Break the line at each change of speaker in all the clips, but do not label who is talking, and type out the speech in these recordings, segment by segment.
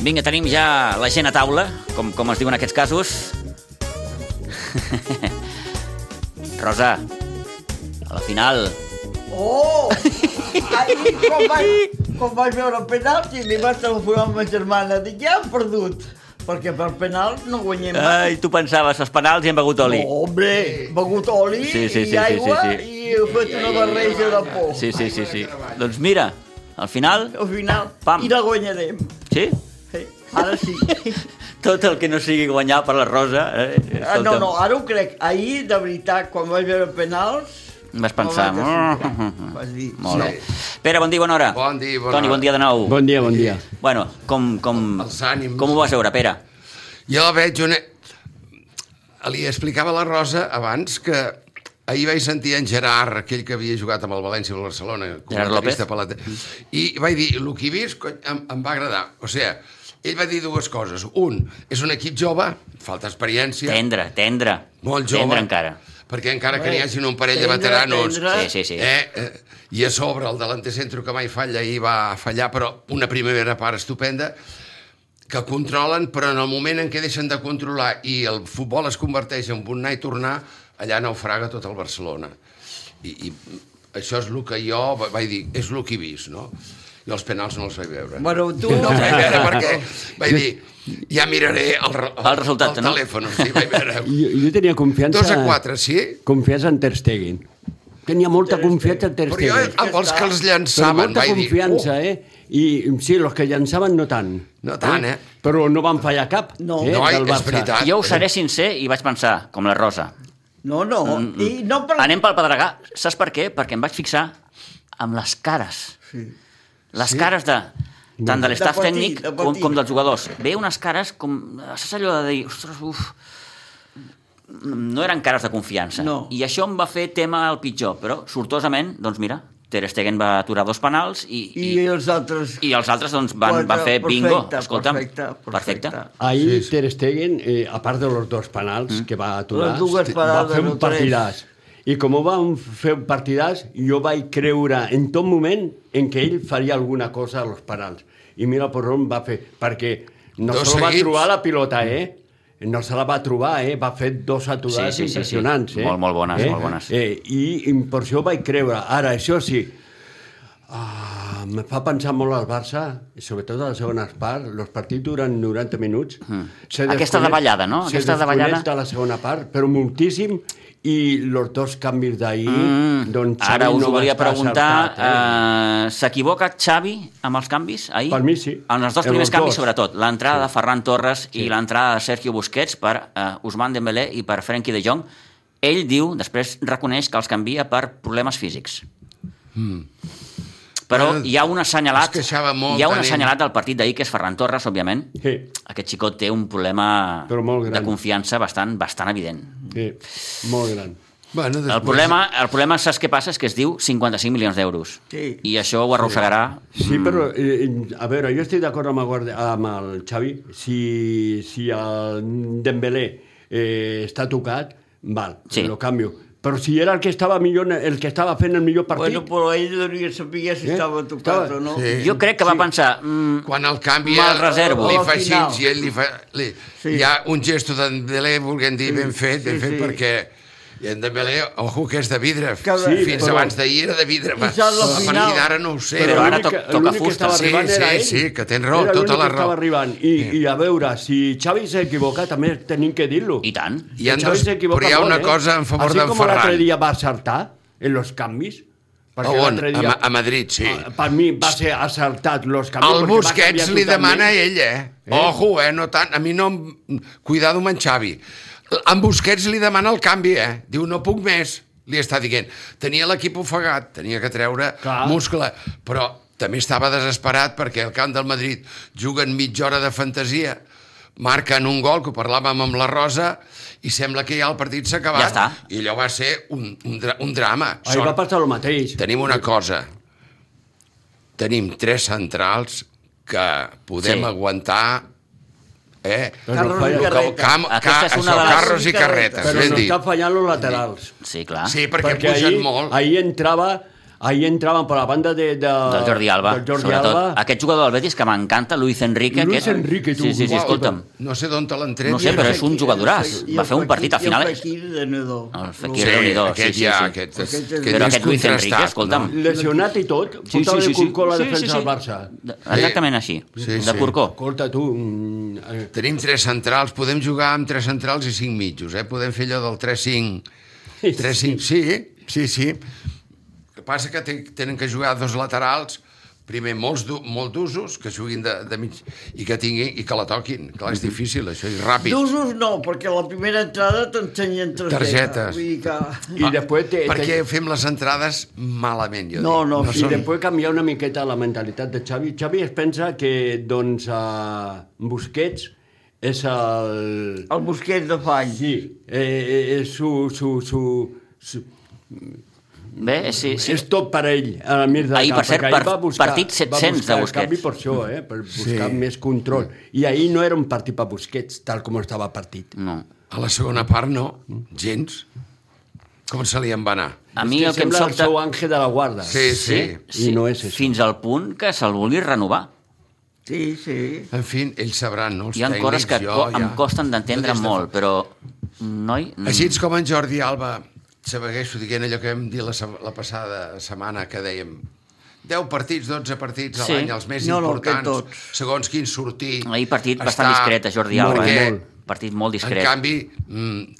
Vinga, tenim ja la gent a taula, com, com es diu en aquests casos. Rosa, a la final,
Oh! Ahir, quan vaig, quan vaig veure el penalti, li vaig telefonar a ma germana, dic, ja hem perdut, perquè per penal no guanyem mai.
Ai, tu pensaves, els penals i hem begut Ah, oli.
Oh, hombre, begut oli
Sí, sí, sí, sí,
i aigua
sí, sí.
i he fet una barreja de por.
Sí, sí, sí, sí. Doncs mira, al final,
Al final,
Pam.
i la guanyarem.
sí,
Sí, Ara sí.
tot el que no sigui guanyar per la Rosa... Eh,
Ah, no,
escolta'm,
no, ara ho crec. Ahir, de veritat, quan vaig veure penals...
Vas pensar... "Mm,
No vaig desitjar. Vas dir,
Molt bé. Pere, bon dia, bona hora.
Bon dia, bona
Toni,
hora.
bon dia de nou.
Bon dia, bon dia.
Bueno, com, com,
Els ànims.
com ho vas veure, Pere?
Jo veig una... Li explicava a la Rosa abans que ahir vaig sentir en Gerard, aquell que havia jugat amb el València i el Barcelona,
López.
comentarista per la... te- i vaig dir, el que he vist cony, em, em va agradar. O sigui, ell va dir dues coses. Un, és un equip jove, falta experiència,
Tendre, tendre.
molt jove.
Tendre encara.
Perquè encara que
Bé,
n'hi hagin un parell de
tendre,
veteranos...
tendre.
Sí, sí, sí.
Eh, eh, I a sobre, el delanter centro que mai falla i va fallar, però una primera part estupenda, que controlen, però en el moment en què deixen de controlar i el futbol es converteix en un anar i tornar, allà naufraga tot el Barcelona. I, i això és el que jo va- vaig dir, és el que he vist, no? Jo els penals no els vaig veure.
Bueno, tu...
No els vaig veure perquè vaig dir, ja miraré el, re-
El resultat,
el
no?
telèfon. Sí, vaig veure.
Jo, jo tenia confiança...
Dos a quatre, sí?
Confiança en Ter Stegen. Tenia molta confiança en Ter
Però jo,
Stegen.
amb els que els
Però
llançaven,
molta
vaig dir...
confiança,
"Oh,
eh? I sí, els que llançaven no tant.
No tant, eh?
Però no van fallar cap,
No.
eh?
Noi,
del
és
Barça.
veritat.
Jo ho seré sincer i vaig pensar, com la Rosa.
No, no, i no per...
Mm, Anem pel Pedregà. Saps per què? Perquè em vaig fixar amb les cares.
Sí.
Les cares de tant de l'estaf
De partit,
tècnic
de
com,
partit.
com dels jugadors. Ve unes cares com... Saps allò de dir, ostres, uf... No eren cares de confiança.
No.
I això em va fer tema al pitjor, però sortosament, doncs mira, Ter Stegen va aturar dos penals i,
I els altres...
i els altres doncs, van,
Quatre,
van fer bingo.
perfecte,
Escolta'm,
perfecte, perfecte.
Ahir sí, sí. Ter Stegen, eh, a part de los dos penals mm. que va aturar,
Les dues
va
parades,
fer
no
un
tres.
partidàs. I com ho va fer un partidàs, jo vaig creure en tot moment en que ell faria alguna cosa als penals. I mira per on va fer, perquè no
Dos
se la va
seguits.
trobar la pilota, eh? No se la va trobar, eh? Va fer dos aturades
Sí, sí, sí, sí.
impressionants, eh?
Molt, molt bones,
eh?
molt bones.
Eh, I per això ho vaig creure. Ara, això sí, Ah, me fa pensar molt al Barça, i sobretot a la segona part. Els partits duren 90 minuts. Mm.
Aquesta davallada, no? Aquesta
Aquesta
davallada.
davallada... de la segona part, però moltíssim. I els dos canvis d'ahir...
Mm,
Mm. Doncs Xavi
Ara us
no
ho
va
volia
estar
preguntar.
Acertat,
eh, S'equivoca Xavi amb els canvis ahir?
Per mi sí.
En els dos
En
primers
els
canvis,
dos.
sobretot. L'entrada de Ferran Torres i l'entrada de Sergio Busquets per eh, Usman Dembélé i per Frenkie de Jong. Ell diu, després reconeix que els canvia per problemes físics. Però
Hmm. Bueno,
hi ha un assenyalat,
es queixava molt
hi ha un
de nen.
assenyalat del partit d'ahir, que és Ferran Torres, òbviament.
eh?
Aquest xicot té un problema
Però molt
de
gran.
confiança bastant bastant evident.
Sí, sí, molt gran.
Oh. Bueno,
El problema, el problema, saps què passa? És que es diu 55 milions d'euros.
Sí.
I això ho arrossegarà...
Sí,
Mm.
però, eh, a veure, jo estic d'acord amb, el Guardi- amb el Xavi. Si, si el Dembélé eh, està tocat, val,
Sí.
lo canvio. Però si era el que estava millor, el que estava fent el millor partit...
Bueno, però ell devia saber si
Eh?
estava tocat
Estava-
o no.
Sí.
Jo crec que va pensar... Mm,
Quan el canvi
Me'l reservo.
li
Al
fa així
final.
i ell li fa... Li,
Sí.
sí. Hi ha un gesto d'en Dembélé, volguem dir, ben fet,
sí,
ben fet,
sí.
perquè i en Dembélé, ojo, que és de vidre.
Que-
sí,
Sí,
Fins
però-
abans d'ahir era de vidre. Va.
I ja la
A
final.
partir d'ara no ho sé.
Però ara
l'únic
to-
que-
toca
l'únic que
fusta.
estava
Sí,
arribant era
sí,
ell.
sí, que tens raó,
Era
tota
l'únic
la
que estava
raó.
arribant. I, I a veure, si Xavi s'equivoca, també tenim que dir-lo.
I tant.
Hi ha
Xavi
dos,
s'equivoca
però hi ha
molt,
una
eh?
cosa en favor
Així
d'en
com l'altre
Ferran.
dia va acertar en los canvis.
A on?
l'altre
A, Ma- a Madrid, sí.
Ah, Per mi va ser acertat los canvis.
El
perquè va
Busquets
canviar
li
totalment.
demana a ell, eh? Ojo, eh? No tant. A mi no... em- Cuidado amb en Xavi. En Busquets li demana el canvi, eh? Diu, no puc més. Li està dient. Tenia l'equip ofegat, tenia que treure
Clar.
muscle, però també estava desesperat perquè el camp del Madrid juguen mitja hora de fantasia, marquen un gol, que ho parlàvem amb la Rosa, i sembla que ja el partit s'ha
Ja
acabat.
està.
I allò va ser un, un, dra un drama.
Ahir va passar el mateix.
Tenim una cosa. Tenim tres centrals que
Sí.
podem sí. aguantar eh?
Però no
Carros i
falla-
carretes.
Cam, ca,
Aquesta és una
això,
de les-
carros i carretes,
Però
ben
no
dit.
està fallant los laterals.
Sí, clar.
Sí, Ah. perquè, perquè pugen
ahir,
molt.
ahir entrava Ahí entraven per la banda de, de...
del Jordi Alba,
Del Jordi
sobretot.
Alba.
Aquest jugador del Betis que m'encanta, Luis Enrique.
Luis
que és...
Enrique, tu.
Sí, sí, sí,
Uau,
escolta'm.
No sé d'on te l'han tret.
No sé,
ni
però
res.
és un jugadoràs.
I
Va
el
fer un partit a
Fekir- i
finales.
El Fekir de Nedó.
El
Sí,
Fekir, déu nhi
aquest
sí, sí,
ja,
sí.
aquest, és,
Aquest és-
Però
ja és
aquest Luis Enrique,
contrastat,
escolta'm.
Lesionat i tot,
Sí, sí,
portava
sí,
de
sí.
curcó
Sí,
la
sí,
defensa
sí.
del Barça.
De- Exactament així,
Sí,
de
sí.
Corcó.
Escolta, tu... mm, eh,
Tenim tres centrals, podem jugar amb tres centrals i cinc mitjos, eh? Podem fer allò del 3-5...
eh,
3-5, sí, sí, sí. El que passa que te- tenen que jugar dos laterals, primer molts du, molt d'usos, que juguin de, de mig, i que tinguin, i que la toquin. Clar,
Mhm.
és difícil, això, i ràpid.
D'usos no, perquè la primera entrada t'ensenyen targeta.
Targetes.
Vull dir que...
I
Ah,
després... Te,
Perquè fem les entrades malament, jo
No,
dic.
no,
I
sí, de...
després canviar una miqueta la mentalitat de Xavi. Xavi es pensa que, doncs, uh, Busquets és el...
el Busquets de Fany.
Sí, eh, eh, és su, su, su, su,
Bé, sí,
sí.
sí.
és tot per ell, a la mir de
Ahir, per
camp,
cert,
perquè ahir
par-
va buscar,
partit 700
va
de
buscar el canvi
Busquets.
per això, eh, per buscar sí. més control. I ahir no era un partit per Busquets, tal com estava el partit.
No.
A la segona part,
Mm.
no, gens. Com se li en va anar?
A mi el que em
sembla
sobta...
el seu àngel de la guarda.
Sí, sí.
I no és això.
Fins al punt que se'l vulgui renovar.
Sí, sí.
En fi, ells sabran, no? Els
Hi ha
tècnics,
coses que
jo,
co- em
ja.
costen d'entendre
Jo des de fa-
molt, però... Noi... mm,
Així és com en Jordi Alba, s'avegueixo dient allò que vam dir la, se- la passada setmana, que dèiem 10 partits, 12 partits a
Sí.
l'any, els més
No, no, que
importants,
tot.
segons quin sortir...
Ahir partit bastant discret, a Jordi Alba.
Perquè,
eh? Partit molt discret.
en canvi, mm,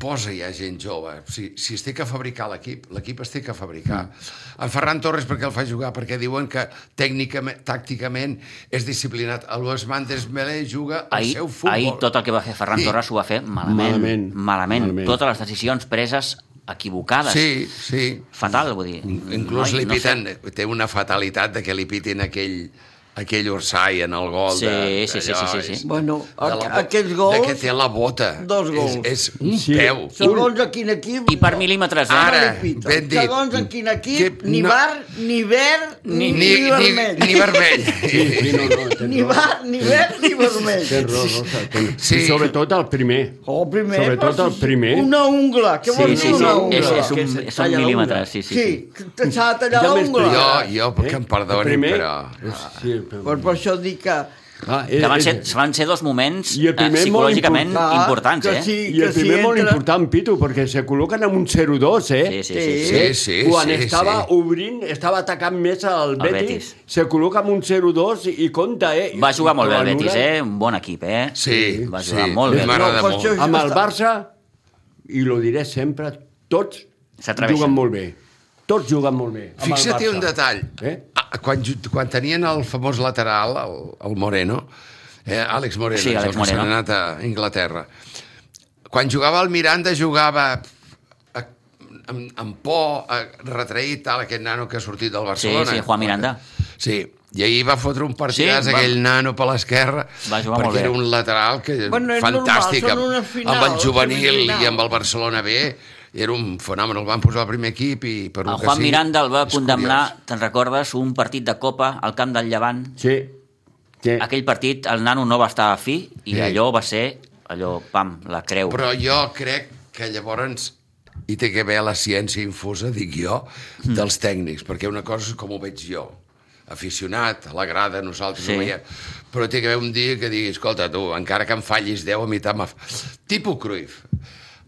posa ja gent jove. Si, si es té que fabricar l'equip, l'equip es té que fabricar.
Mm.
En Ferran Torres perquè el fa jugar? Perquè diuen que tècnicament, tàcticament és disciplinat. El Luis Mandes Melé juga el
ahir,
seu futbol.
ahir tot el que va fer Ferran
Sí.
Torres ho va fer malament.
Malament.
malament.
Malament.
Totes les decisions preses equivocades.
Sí, sí.
Fatal, vull dir.
Inclús
Noi,
li piten, no té una fatalitat de que li pitin aquell aquell Orsai en el gol
Sí,
de,
sí, sí,
d'allò,
sí, sí,
és-
sí.
Bueno,
de la
a-
bo-
aquests gols,
de que té la bota
dos gols.
és, és un
Sí.
peu
Segons a quin equip...
I per mil·límetres, eh?
Ara,
no li piten.
ben dit.
Segons a quin equip,
Que
ni
no-
bar, ni verd, ni, ni, ni vermell.
ni, ni vermell
Sí, sí, no, no, tens
Ni
raó.
bar, ni verd, ni vermell.
Tens raó, Rosa. Tens...
Sí.
Sí. I sobretot el primer.
O el Oh, primer,
Sobretot
però
el primer.
Una ungla, què
Sí,
vols
sí,
dir
sí.
una
És,
ungla?
és un,
Que se
són
talla
mil·límetres, sí, sí.
Sí,
sí.
que s'ha de tallar
Ja
l'ungla.
m'explico.
jo, jo perquè em
El
perdoni
primer...
però
Sí, però...
Doncs per això dic que...
Ah,
Que van ser,
és-
van ser dos moments
I el
eh,
primer molt
psicològicament
important.
importants,
Que
eh?
sí.
I el
que si
primer molt
entra-
important, Pitu, perquè se col·loquen amb un 0-2,
Sí,
eh?
sí, sí. sí.
sí, sí,
Quan
sí,
estava
sí.
obrint, estava atacant més al
Betis.
Betis, se col·loca amb un 0-2 i compta, eh?
Va jugar molt bé el
Però
Betis,
anul·la
eh? Un bon equip, eh?
sí,
Va
sí,
jugar molt bé.
Mare-
m'agrada
No, per
molt
això-
Amb el Barça, i lo diré sempre, tots
S'atreveixen.
juguen molt bé. Tots juguen molt bé. amb el
Fixa't
Barça.
un detall.
Eh?
Ah, Quan, ju- quan tenien el famós lateral, el, el Moreno, eh, Àlex Moreno,
Sí,
és
Àlex
el que se n'ha
Moreno.
anat a Anglaterra, quan jugava el Miranda jugava a, amb, amb por, a, retraït, tal, aquest nano que ha sortit del
Sí,
Barcelona.
sí, Juan Miranda.
Sí, i ahir va fotre un partidàs
Sí,
sí,
va-
aquell nano per l'esquerra,
Va jugar
perquè
molt bé.
era un lateral que
Bueno, és normal,
fantàstic,
són
amb,
unes finals,
amb el juvenil
semifinals.
i amb el Barcelona B, era un fenomen, el van posar al primer equip i per
El
lo que
Juan
sigui,
Miranda el va
és
condemnar, te'n recordes, un partit de Copa al camp del Llevant.
Sí. sí.
Aquell partit el nano no va estar a fi i
Sí.
allò va ser, allò, pam, la creu.
Però jo crec que llavors hi té que haver la ciència infusa, dic jo,
Hmm.
dels tècnics, perquè una cosa és com ho veig jo, aficionat, a la grada, nosaltres
Sí.
ho veiem, però té que haver un dia que digui, escolta, tu, encara que em fallis 10, a mitat m'ha... Tipo Cruyff,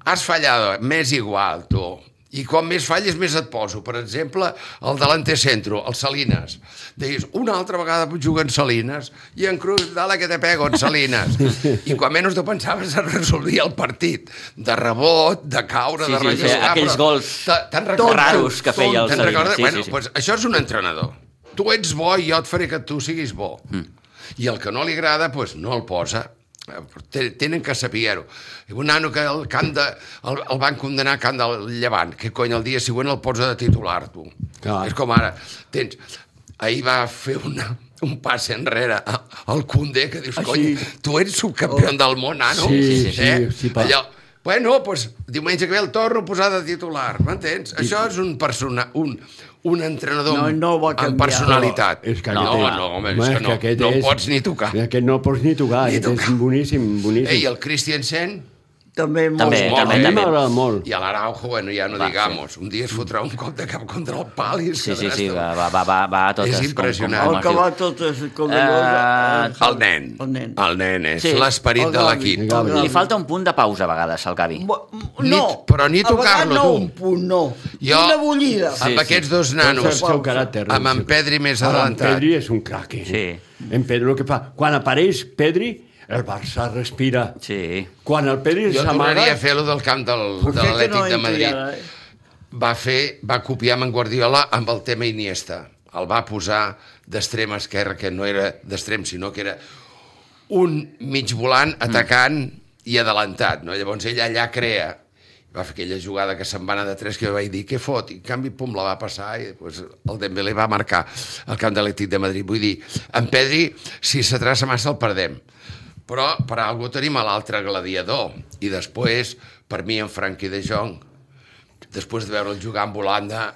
has fallat, m'és igual, tu, i quan més falles, més et poso. Per exemple, el de l'antecentro, el Salinas. Deies, una altra vegada juguen Salinas i en Cruz, dala que te pego, en Salinas. I quan menys t'ho pensaves es resolia el partit. De rebot, de caure,
Sí,
de
sí,
relliscar...
sí, aquells
però
gols
te- te'n
tots
recordes?
raros que feia el
Te'n
Salinas,
recordes?
sí,
bueno,
sí, sí.
Doncs això és un entrenador. Tu ets bo i jo et faré que tu siguis bo. Mm. I el que no li agrada, doncs no el posa. Eh, te- Tenen que saber-ho. I Un nano que el, camp de, el, el van condenar a Camp del Llevant, que cony el dia següent el posa de titular, tu.
Clar.
És com ara, tens... Ahir va fer una, un pas enrere a- al Condé, que dius, cony, tu ets subcampió del món, nano.
Sí, sí, sí, sí, pa.
eh? Allò, Bueno, doncs, diumenge que ve el torno a posar de titular, m'entens? Això és un, persona, un, un entrenador
No, no va
amb
canviar.
personalitat.
És que
no,
aquest és,
no, home, és que no,
aquest
no
és-
pots ni tocar.
Aquest no pots ni tocar,
Ni
ni aquest
tocar.
és boníssim, boníssim.
Ei, el Christiansen,
També molt
També,
bo.
A
també,
mi
també.
m'agrada molt.
I a l'Araujo, bueno, ja no
Va,
digamos, un dia es fotrà un cop de cap contra el pal i es
Sí, sí,
quedaràs
sí,
tu.
va, va, va, va, va a totes.
És
com-
impressionant.
com-
El
com
que
es
va
diu.
tot és com
Eh,
uh,
El nen.
El nen.
El nen és
Sí.
l'esperit
El
de
Gavi.
l'equip.
El Gavi.
Li falta un punt de pausa a vegades al Gavi.
Bo-
Ni-
No,
però ni
a vegades
tocar-lo,
no
tu.
un punt, no.
Jo-
Una bullida.
Sí.
Amb aquests dos nanos,
Té el seu caràcter.
amb en Pedri més
Ara, En
adelantat.
Pedri és un crac. Eh?
Sí.
En Pedri el que fa... Quan apareix Pedri, el Barça respira.
Sí.
Quan el Pedri
Jo
s'amaga...
tornaria a fer-lo del camp del,
Per
de
què que
l'Atlètic
no
de
entri
Madrid.
ara, eh?
Va fer, va copiar amb en Guardiola amb el tema Iniesta. El va posar d'extrem esquerre, que no era d'extrem, sinó que era un mig volant atacant i adelantat. No? Llavors ell allà crea va fer aquella jugada que se'n va anar de 3 que vaig dir, què fot? I en canvi, pum, la va passar i pues, el Dembélé va marcar el camp de l'Atlètic de Madrid. Vull dir, en Pedri, si s'atrassa massa, el perdem. Però per algú tenim a l'altre gladiador. I després, per mi, en Frankie de Jong, després de veure'l jugar amb Holanda,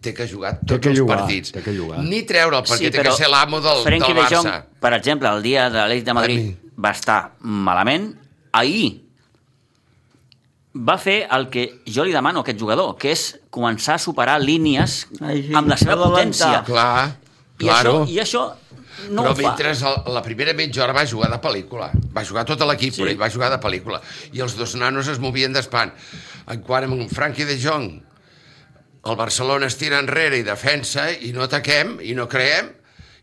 té que jugar tots
que
els
jugar,
partits.
té que jugar.
Ni treure'l, perquè té que ser l'amo del,
Frenkie
del Barça.
de Jong, per exemple, el dia de l'Eix de Madrid
mi.
va estar malament. Ahir va fer el que jo li demano a aquest jugador, que és començar a superar línies
Ai, sí,
amb la seva
adelantar.
potència.
Clar,
I,
claro.
això, I això no
però
ho fa.
mentre el, la primera mitja hora va jugar de pel·lícula. Va jugar tota l'equip,
Sí.
sí. però ell va jugar de pel·lícula. I els dos nanos es movien d'espant. En quant amb un Frankie de Jong, el Barcelona es tira enrere i defensa, i no ataquem, i no creem,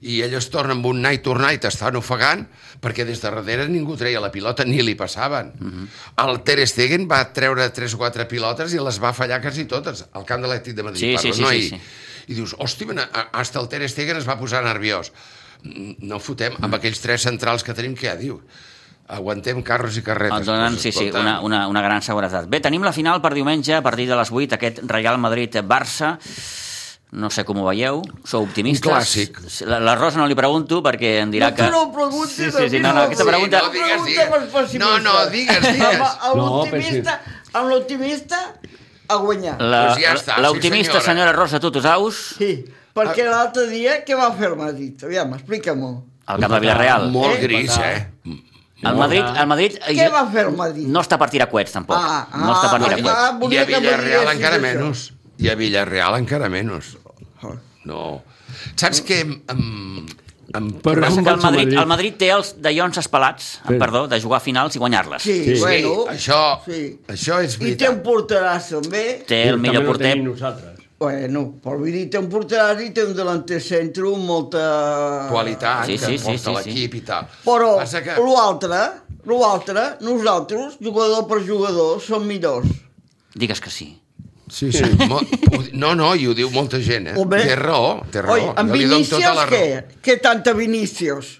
i ell es torna amb un night to night, estan ofegant, perquè des de darrere ningú treia la pilota, ni li passaven.
Mhm.
Mm -hmm. El Ter Stegen va treure tres o quatre pilotes i les va fallar quasi totes, al camp de l'Atlètic de Madrid.
Sí,
Sí,
sí, sí,
parles, no?
sí,
I,
sí.
I dius, hòstia, ben, a- hasta el Ter Stegen es va posar nerviós. Mm, No fotem, amb aquells tres centrals que tenim, què diu? Aguantem carros i carretes.
Et Ah, donen,
Doncs,
sí, sí,
escolta,
una, una, una gran seguretat. Bé, tenim la final per diumenge a partir de les 8, aquest Real Madrid-Barça. No sé com ho veieu, sou optimistes.
Un clàssic.
La, la Rosa no li pregunto perquè em dirà
No,
que...
tu no ho preguntis,
sí, sí, sí,
aquí
no, no,
no.
aquesta
Sí,
pregunta...
no,
Una
digues,
pregunta
digues.
per pessimista.
No, no, digues, digues.
Amb- amb
No,
l'optimista- amb l'optimista a guanyar.
La-
Doncs ja està, sí,
L'optimista,
senyora.
senyora Rosa Tutosaus,
Sí,
Ah.
perquè l'altre dia què va fer el Madrid? Aviam, explica-m'ho.
al camp de Villarreal.
Molt
Eh?
gris, eh?
El Madrid, el Madrid
Què va fer el Madrid?
no està per tirar coets, tampoc.
Ah, ah,
no està per tirar
ah,
coets.
ah,
I
volia
a
que m'ho
Villarreal
diguessis,
encara
això.
menys. I a Villarreal encara menys.
Ah.
No. Saps que... Em, em, em,
Però-
Passa que el
Barça
Madrid,
Madrid.
el Madrid té els dallons espelats,
Sí.
perdó, de jugar a finals i guanyar-les.
Sí,
Sí.
bueno.
això,
sí.
això és
I té
veritat.
un porterasso, bé.
Té el millor porter,
nosaltres.
Bueno, però vull dir, té un porterasso i té un delanter centre amb molta...
qualitat
Sí,
sí,
sí, sí,
sí, que porta
sí, sí.
l'equip i tal.
Però
Passa que...
l'altre, l'altre, nosaltres, jugador per jugador, som millors.
Digues que sí.
Sí, sí. Mo- ho- No, no, i ho diu molta gent, eh?
Home.
Té raó, té raó.
Oi, amb
Jo li dono tota
Vinícius
la raó.
què? Què tanta Vinícius?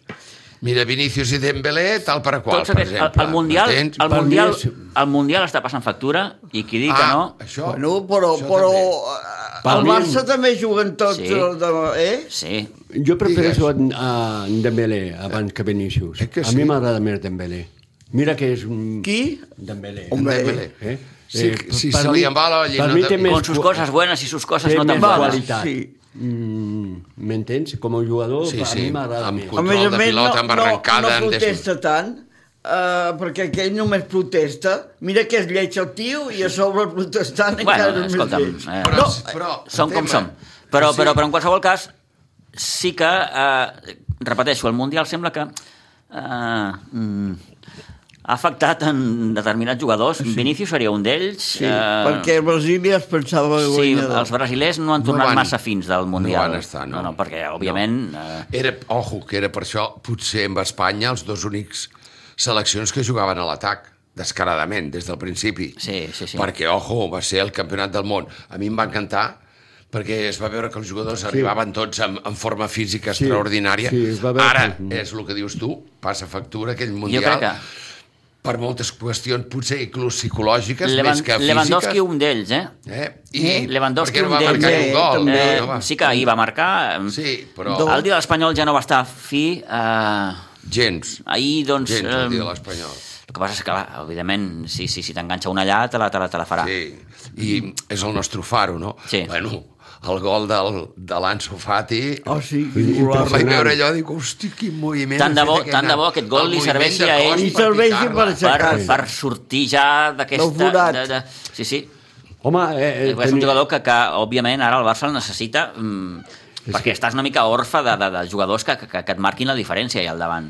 Mira, Vinícius i Dembélé, tal per a qual,
Tots
per
aquests, Doncs, el,
exemple.
el, mundial,
M'entens?
el,
Per mi
mundial,
és-
el Mundial està passant factura i qui diu que
ah,
no...
Això,
Bueno, però,
això
però
també.
eh,
Per
el
mi-
Barça també juguen tots
Sí.
sí. els de... Eh?
Sí,
Jo prefereixo en, a en Dembélé abans que Vinícius.
Eh que
A mi
sí?
m'agrada més Dembélé. Mira que és un...
Qui?
Dembélé.
Home.
Dembélé.
Eh?
Sí,
Eh,
si
per
se
mi-
li embala la
per
llei,
mi
no
té
de-
més
con sus
qua-
coses buenas i sus coses
té
no tan
més
buenas.
qualitat.
Sí.
Mm, M'entens? Com a jugador,
Sí,
sí, sí. a
sí,
mi m'agrada
amb
més.
Control de pilota, amb arrencada,
no,
amb
no
des-
protesta tant, eh, perquè aquell només protesta. Mira que és lleig el tio i a sobre protestant
Bueno,
encara és més
escolta'm,
lleig.
eh,
Però,
no,
però,
som com
tema.
som. Però,
Sí.
però, però en qualsevol cas, sí que, eh, repeteixo, el Mundial sembla que eh, mm, ha afectat en determinats jugadors. Sí. Vinícius seria un d'ells.
Sí, perquè Brasília es pensava
eh, Sí,
guanyador.
els brasilers no han tornat
van-
massa fins del Mundial.
van estar, no.
No, no perquè, òbviament... No. Eh,
Era, ojo, que era per això, potser amb Espanya, els dos únics seleccions que jugaven a l'atac, descaradament, des del principi.
Sí, sí, sí.
Perquè, ojo, va ser el campionat del món. A mi em va encantar perquè es va veure que els jugadors sí. arribaven tots en, en forma física
Sí,
extraordinària.
sí, es va veure
Ara,
que-
és el que dius tu, passa factura, aquell
jo
Mundial,
crec que
per moltes qüestions, potser inclús psicològiques,
Levan,
més que físiques.
Lewandowski un d'ells, eh?
Eh? I
I Lewandowski
per què no
un
va
d'ells.
marcar ni un gol?
també.
eh,
no, no va.
sí que ahir va marcar. eh,
sí, però
Dos.
El dia de l'Espanyol ja no va estar fi. Eh,
gens,
ahir, doncs...
gens el dia de
eh,
l'Espanyol.
el que passa és que, clar, evidentment, si, si, si t'enganxa una allà, te la, te la, te la farà.
Sí, i és el nostre faro, no?
ah. Sí.
Bueno, el gol del, de l'Anso Fati.
Oh, sí,
Quan
impressionant.
vaig veure allò, dic, hosti, quin moviment.
Tant de
ha fet
bo-
aquest
tant de
nen.
bo aquest gol
El
li
moviment
serveixi
de
a ell.
cos
Li
per
serveixi
picar-la.
per aixecar.
per,
Aixecar-se.
per sortir ja
Del
d'aquesta...
forat.
De, de, sí, sí.
Home, eh, eh,
Eh, és un jugador que, que, òbviament, ara el Barça el necessita mm, perquè estàs una mica orfe de, de, de jugadors que, que, que et marquin la diferència allà al davant.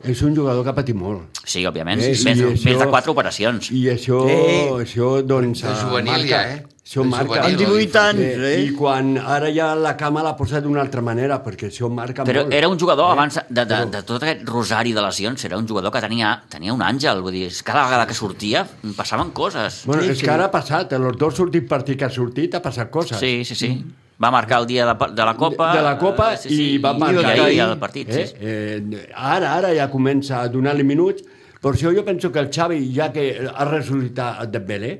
és un jugador que ha patit molt.
Sí, òbviament.
Eh,
Eh,
i
més,
això-
més de quatre operacions.
I això,
Eh.
això doncs...
De
eh,
juvenil
marca.
ja, eh?
Això
De
marca.
juvenil,
Amb 18 anys,
Eh, I
eh?
quan ara ja la cama l'ha posat d'una altra manera, perquè això marca
Però
molt.
era un jugador, abans de, de, de tot aquest rosari de lesions, era un jugador que tenia, tenia un àngel. Vull dir, és cada vegada que sortia mm, passaven coses.
Bueno,
Sí,
és
sí.
que ara ha passat, en els dos últims partits que ha sortit ha passat coses.
Sí, sí, sí. Va marcar el dia de, pa- de la Copa.
de la Copa
eh,
sí, sí, i va marcar
I ahir
ahir,
el partit, sí.
eh? Eh, ara, ara ja comença a donar-li minuts, per això jo penso que el Xavi, ja que ha ressuscitat el Dembélé,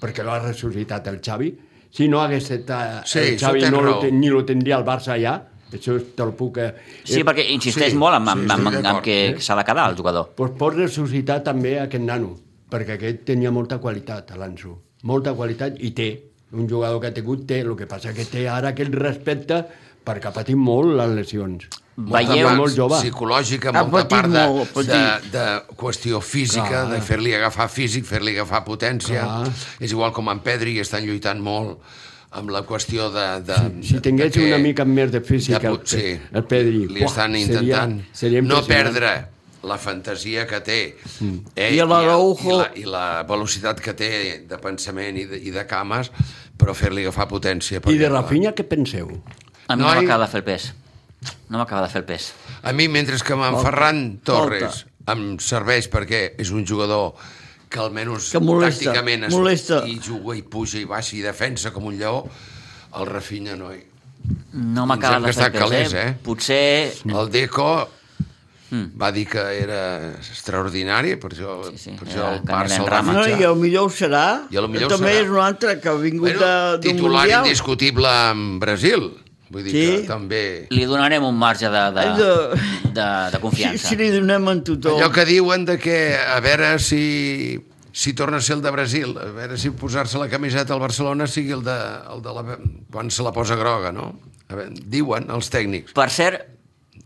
perquè l'ha ressuscitat el Xavi, si no hagués estat
Sí,
el
això
Xavi
tens
no lo,
raó.
ten- ni lo tindria el Barça ja, això te lo puc... Eh,
Sí, perquè insisteix
sí,
molt en, en,
sí,
en,
sí,
en, en
d'acord,
que s'ha de quedar el jugador.
Doncs pot ressuscitar també aquest nano, perquè aquest tenia molta qualitat, l'Anso. Molta qualitat i té. Un jugador que ha tingut té, el que passa que té ara aquest respecte perquè ha patit molt les lesions.
Molta
Veieu-
part
molt jove.
psicològica,
Ha
molta
patit
part de,
Ah, molt, ha
de,
patit.
de qüestió física,
Clar.
de fer-li agafar físic, fer-li agafar potència.
Clar.
És igual com en Pedri, estan lluitant molt amb la qüestió de... de
Si
de
tingués
que-
una mica més de físic
de
el,
pot- sí.
el Pedri...
Li
buah,
estan
seria-
intentant
seria
no
impressionant. Mm.
perdre la fantasia que té eh,
I
i, la, i,
l'Araujo.
la, i la velocitat que té de pensament i de, i de cames, però fer-li agafar potència.
I
perquè,
de
clar,
Rafinha, què penseu?
A mi no
Noi.
m'acaba de fer el pes. No m'acaba de fer el pes.
A mi, mentre que amb en Ferran Torres em serveix perquè és un jugador que almenys
Que molesta,
tàcticament es,
molesta.
i juga i puja i baixa i defensa com un lleó, el Rafinha no. hi-
No m'acaba
sembla
de
que
fer el
està
pes,
calés,
eh?
eh?
Potser...
El Deco va dir que era extraordinari, per això, sí,
sí,
sí, per
era
això el
que anava
Barça
en
el va
rama.
No,
fitxar.
i el millor ho serà.
I el millor ho
També
serà.
és un altre que ha vingut
Bueno,
de- d'un
titular
mundial.
indiscutible amb Brasil. Vull dir
Sí.
que també...
Li donarem un marge de, de,
Ai,
de,
de-
de, confiança.
Si, si li donem en tothom.
Allò que diuen de que a veure si si torna a ser el de Brasil, a veure si posar-se la camiseta al Barcelona sigui el de, el de la, quan se la posa groga, no? A veure, diuen els tècnics.
Per cert,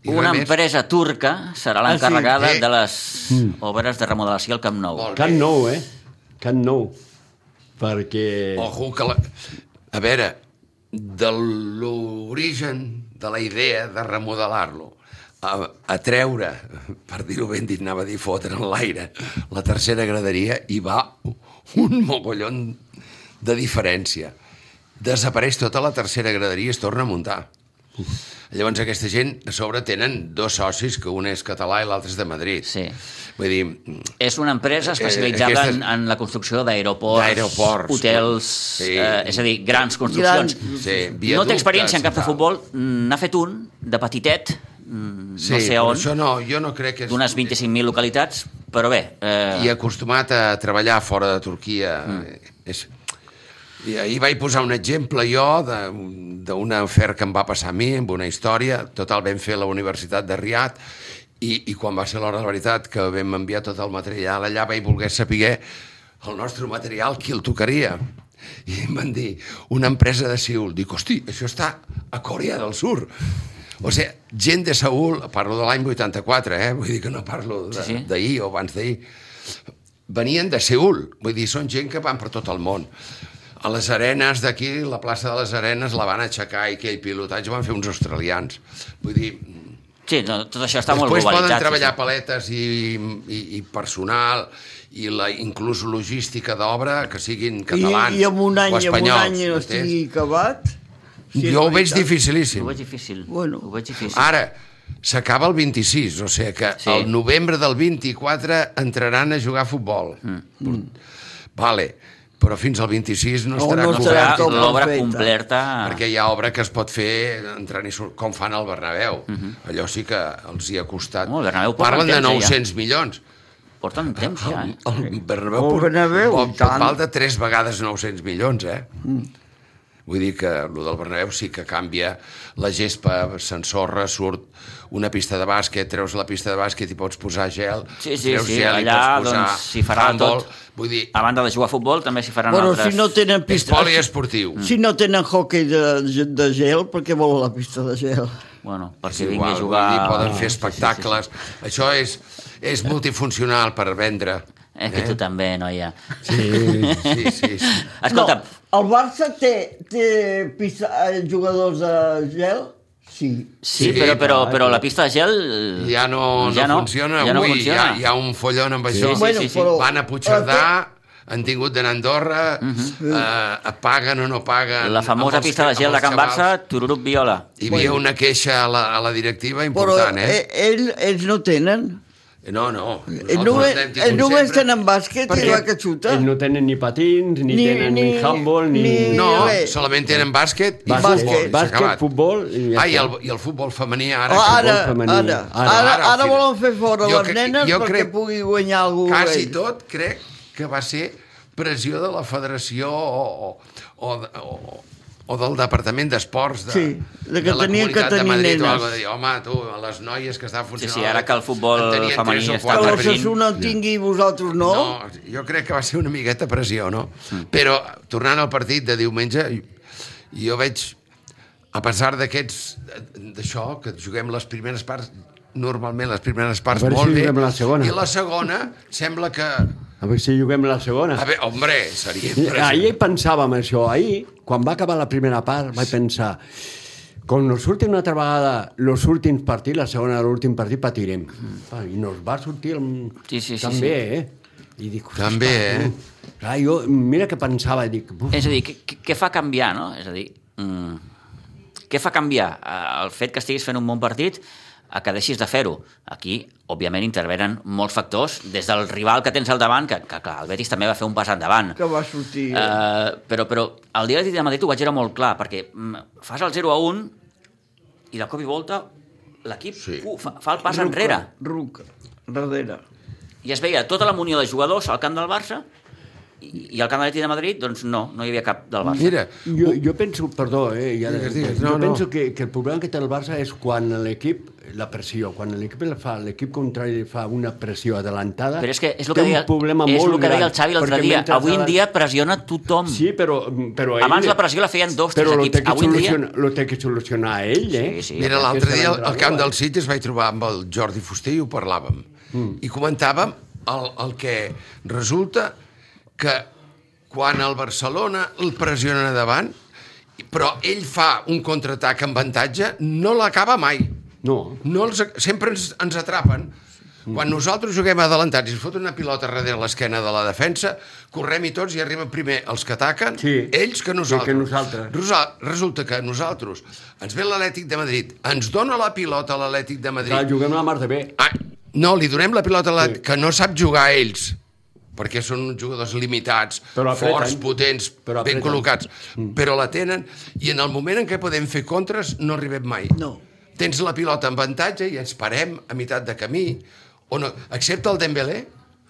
I
una
res més.
empresa turca serà
sí.
l'encarregada
Eh.
de les obres de remodelació al Camp Nou.
Molt bé.
Can nou, eh? Can nou. Perquè...
Ojo que la... A veure, de l'origen de la idea de remodelar-lo a, a treure, per dir-ho ben dit, anava a dir fotre en l'aire, la tercera graderia hi va un mogollon de diferència. Desapareix tota la tercera graderia i es torna a muntar. Llavors aquesta gent a sobre tenen dos socis, que un és català i l'altre és de Madrid.
Sí.
Vull dir, mm,
És una empresa especialitzada
aquestes-
en, en la construcció d'aeroports,
Eh, D'aeroports,
hotels,
sí.
eh, és a dir, grans construccions.
Grans.
Sí,
no té experiència en cap de
viaductes i tal.
futbol, mm, n'ha fet un, de petitet, mm,
Sí,
no sé
però
on,
Això no, jo no crec que... és-
d'unes 25.000 localitats, però bé,
I
eh,
acostumat a treballar fora de Turquia. Mm. És... I ahir vaig posar un exemple jo de- d'una afer que em va passar a mi, amb una història. Total, vam fer la Universitat de Riad i, i quan va ser l'hora de la veritat que vam enviar tot el material allà vaig voler saber el nostre material qui el tocaria i em van dir una empresa de Seul dic, hosti, això està a Corea del Sur o sigui, gent de Seul parlo de l'any 84, eh? vull dir que no parlo de-
Sí, sí.
d'ahir o abans d'ahir venien de Seul, vull dir, són gent que van per tot el món. A les arenes d'aquí, la plaça de les arenes, la van aixecar i aquell pilotatge ho van fer uns australians. Vull dir,
sí, no, tot això està molt
després
globalitzat.
poden
sí,
treballar
sí.
paletes i, i, i personal i la inclús logística d'obra que siguin catalans
I, i amb un any, amb
o
un
espanyols.
any no
entens?
estigui acabat. sí,
jo ho
és
veig
veritat.
dificilíssim.
Ho veig difícil,
Bueno.
ho veig difícil.
Ara, s'acaba el 26, o sigui que
Sí.
sí. el novembre del 24 entraran a jugar a futbol. Mm. Vale, però fins al 26 no
No,
estarà
no
no,
estarà
cobrat,
Serà
tot
no,
l'obra
perfecte.
completa.
perquè hi ha obra que es pot fer entrant i surt, com fan al Bernabéu. Mm -hmm. Allò sí que els hi ha costat.
Oh, Mhm. el Bernabéu porta
Parlen de
temps, ja.
900 milions.
Porta un temps
Ah,
ja, eh?
El Bernabéu,
El Bernabéu,
pot,
i
pot
tant.
val de 3 vegades 900 milions, eh? Mm. Vull dir que el del Bernabéu sí que canvia la gespa, s'ensorra, surt una pista de bàsquet, treus la pista de bàsquet i pots posar gel,
Sí, sí,
treus
sí,
gel
allà,
i pots posar
doncs, s'hi farà
handball.
tot. Ah,
Vull dir,
A banda de jugar a futbol, també s'hi faran
Bueno,
altres...
si no tenen
és
pista...
poliesportiu.
Mm.
Si no tenen hockey de, de gel, per què volen la pista de gel?
Bueno,
És
perquè vingui
igual,
a jugar...
vull dir, poden fer espectacles. Això és, és multifuncional per vendre.
Eh, que tu també, noia.
Sí,
Sí, sí, sí.
Escolta'm,
No, el Barça té, té pista, eh, jugadors de gel? Sí.
Sí,
Sí,
però, però,
clar,
però
clar.
la pista de gel... eh,
Ja no, ja no, funciona
Ja no
avui,
funciona.
Hi, ha, hi ha un follon amb això.
sí, Bueno, sí, sí. però-
Van a Puigcerdà, han tingut d'anar a Andorra, eh, paguen o no paguen...
Mhm. La famosa
amb els-
pista de gel
amb
de Can
els xavals.
Barça, Tururup Viola.
Hi havia una queixa a la, a la directiva
Però
important,
eh,
eh?
ell, ells no tenen.
No, no.
Ells només, ells només tenen bàsquet i la que xuta.
Ells no tenen ni patins, ni,
Ni-
ni tenen ni,
ni-
handball, ni...
ni-
ni...
No,
res.
solament tenen bàsquet i
Bàsquet,
futbol. i s'ha
bàsquet,
acabat.
futbol i ja
ah, i
està.
el, i el futbol femení ara...
Oh,
que-
ara,
futbol femení.
ara,
Ara,
ara,
ara,
ara
al
volen fer fora
Jo
les
cre-
nenes
jo
perquè
crec-
pugui guanyar algú.
quasi
ells.
tot crec que va ser pressió de la federació o, o, o, o del Departament d'Esports de,
Sí, de que
de la
tenien que
Comunitat de
tenir
Madrid
nenes.
o algo de dir, home, tu, a les noies que estan funcionant...
Sí, sí, ara que el futbol
en tenien
femení
tres o
està
Que
quatre.
per fi.
l'Ossassuna el tingui i vosaltres no.
No, jo crec que va ser una miqueta pressió, no? Però, tornant al partit de diumenge, jo veig, a pesar d'aquests, d'això, que juguem les primeres parts, normalment les primeres parts
A veure
molt
si
bé,
juguem la segona.
i la segona sembla que...
A veure si juguem la segona.
A veure, hombre, seria
Ahir pensàvem això. Ahir, quan va acabar la primera part, vaig pensar com nos surtin una altra vegada els últims partits, la segona de l'últim partit, patirem. Ah, I nos va sortir el...
Mm. Sí, sí, sí,
també, sí. eh? I dic,
També, eh?
eh? Clar, jo, mira que pensava, i dic... Buf,
És a dir, què- què- què fa canviar, no? És a dir, mm, què fa canviar? Eh, El fet que estiguis fent un bon partit a que deixis de fer-ho. Aquí, òbviament, intervenen molts factors, des del rival que tens al davant, que, que clar, el Betis també va fer un pas endavant.
Que va sortir...
Eh, però, però el dia de Madrid ho vaig veure molt clar, perquè mm, fas el 0 a 1 i de cop i volta l'equip sí.
Sí.
fa, fa el pas
Ruc,
enrere.
Ruc, darrere.
I es veia tota la munió de jugadors al camp del Barça i, i al camp de l'Atlètic de Madrid, doncs no, no hi havia cap del Barça.
Mira,
oh.
Jo, jo penso, perdó, eh, ja,
Digues, digues,
jo
no, no.
penso que, que el problema que té el Barça és quan l'equip, la pressió, quan l'equip la fa, l'equip contrari fa una pressió adelantada,
Però és que és el
té
que deia,
un problema
és
molt
el que
gran.
deia el Xavi l'altre
perquè
dia.
mentre
Avui en
adelant-
dia pressiona tothom.
Sí, però... mm, però
Mm. Abans la pressió la feien dos,
però
tres
lo
equips.
té que
Avui en dia-
solucionar- Lo té que solucionar ell, eh?
Sí, sí.
mira
aquesta
l'altre dia
l'entrada,
al camp
eh?
del Sitges vaig trobar amb el Jordi Fuster i ho parlàvem. I comentàvem el, el que resulta que quan el Barcelona el pressiona davant, però ell fa un contraatac amb avantatge, no l'acaba mai.
No.
No els, sempre ens, ens atrapen. Quan nosaltres juguem adelantats i es fot una pilota darrere l'esquena de la defensa, correm-hi tots i arriben primer els que ataquen,
Sí.
ells que nosaltres.
Que nosaltres.
Rosa- Resulta que nosaltres, ens ve l'Atlètic de Madrid, ens dona la pilota a l'Atlètic de
Clar,
Madrid...
juguem la mar de bé.
Ah, no, li donem la pilota a la...
Sí.
que no sap jugar a ells, perquè són uns jugadors limitats,
Però apreten.
forts, potents,
Però
ben
apreten. Mm.
col·locats, però la tenen, i en el moment en què podem fer contres no arribem mai.
No.
Tens la pilota en avantatge i ens parem a meitat de camí, o no, excepte el Dembélé,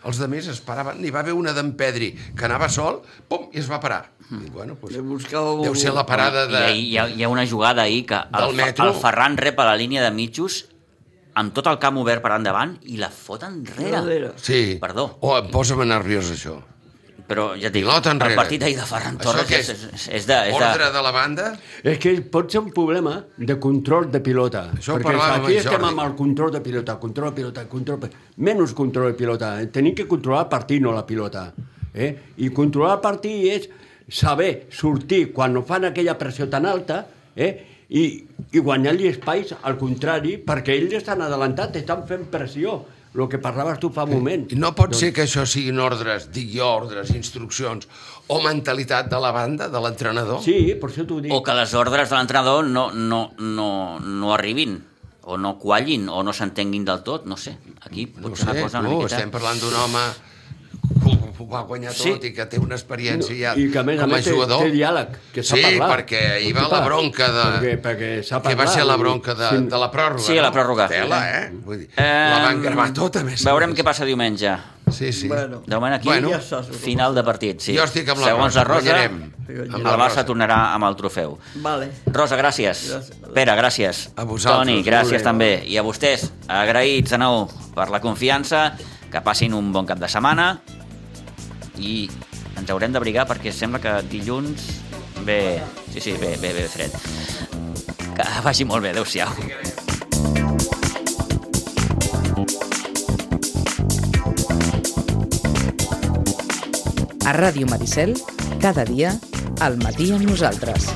els de més es paraven, hi va haver una d'en Pedri que anava sol, pum, i es va parar.
Mm.
I, bueno, doncs,
Que buscava
deu ser la parada de...
I, hi, ha, hi ha una jugada ahir que el,
Del
Fa-
metro.
el Ferran rep a la línia de mitjos amb tot el camp obert per endavant i la fot enrere.
Darrere.
Sí.
Perdó.
Oh, em posa nerviós, això.
Però ja et dic,
Pilota enrere.
el partit d'ahir de Ferran
Això
Torres
què
és,
és?
és, és de... És
Ordre
de...
de la banda?
És que pot ser un problema de control de pilota.
Això ho
perquè
parlàvem amb
aquí estem
Jordi.
amb el control de pilota, control de pilota, control... de- Menys control de pilota. eh? Tenim que controlar el partit, no la pilota. Eh? I controlar el partit és saber sortir quan no fan aquella pressió tan alta eh? i, i guanyar-li espais al contrari perquè ells estan adelantats, estan fent pressió. El que parlaves tu fa un moment.
I no
Doncs-
pot ser que això siguin ordres, dic jo, ordres, instruccions, o mentalitat de la banda, de l'entrenador?
Sí, per això t'ho dic.
O que les ordres de l'entrenador no, no, no, no arribin o no quallin o no s'entenguin del tot, no sé. Aquí pot
no ho
ser
sé,
una cosa una
tu,
miqueta...
estem parlant d'un home cu- ho va guanyar
Sí.
tot sí. i que té una experiència ja
I que a més a
com a
més té,
jugador.
té diàleg, que s'ha
sí,
parlat.
perquè hi va
Escolta,
la bronca de...
Perquè, perquè s'ha
que
parlat.
va ser la bronca de,
Sí.
de la pròrroga.
Sí, la pròrroga.
Tela, eh? Vull dir, la van
Em,
gravar tota, a més. a
Veurem
més.
què passa diumenge.
Sí, sí.
Bueno.
De moment aquí,
Bueno.
bueno, final de partit. Sí.
Jo estic amb la
Segons
Rosa,
la Rosa,
guanyarem. Amb la
el Barça
Rosa.
tornarà amb el trofeu.
Vale.
Rosa, gràcies.
Gràcies.
Pere, gràcies.
A vosaltres.
Toni,
Molt
gràcies
bé.
també. I a vostès, agraïts de nou per la confiança, que passin un bon cap de setmana i ens haurem d'abrigar perquè sembla que dilluns ve... Sí, sí, ve, ve, ve fred. Que vagi molt bé, adeu-siau.
A Ràdio Maricel, cada dia, al matí amb nosaltres.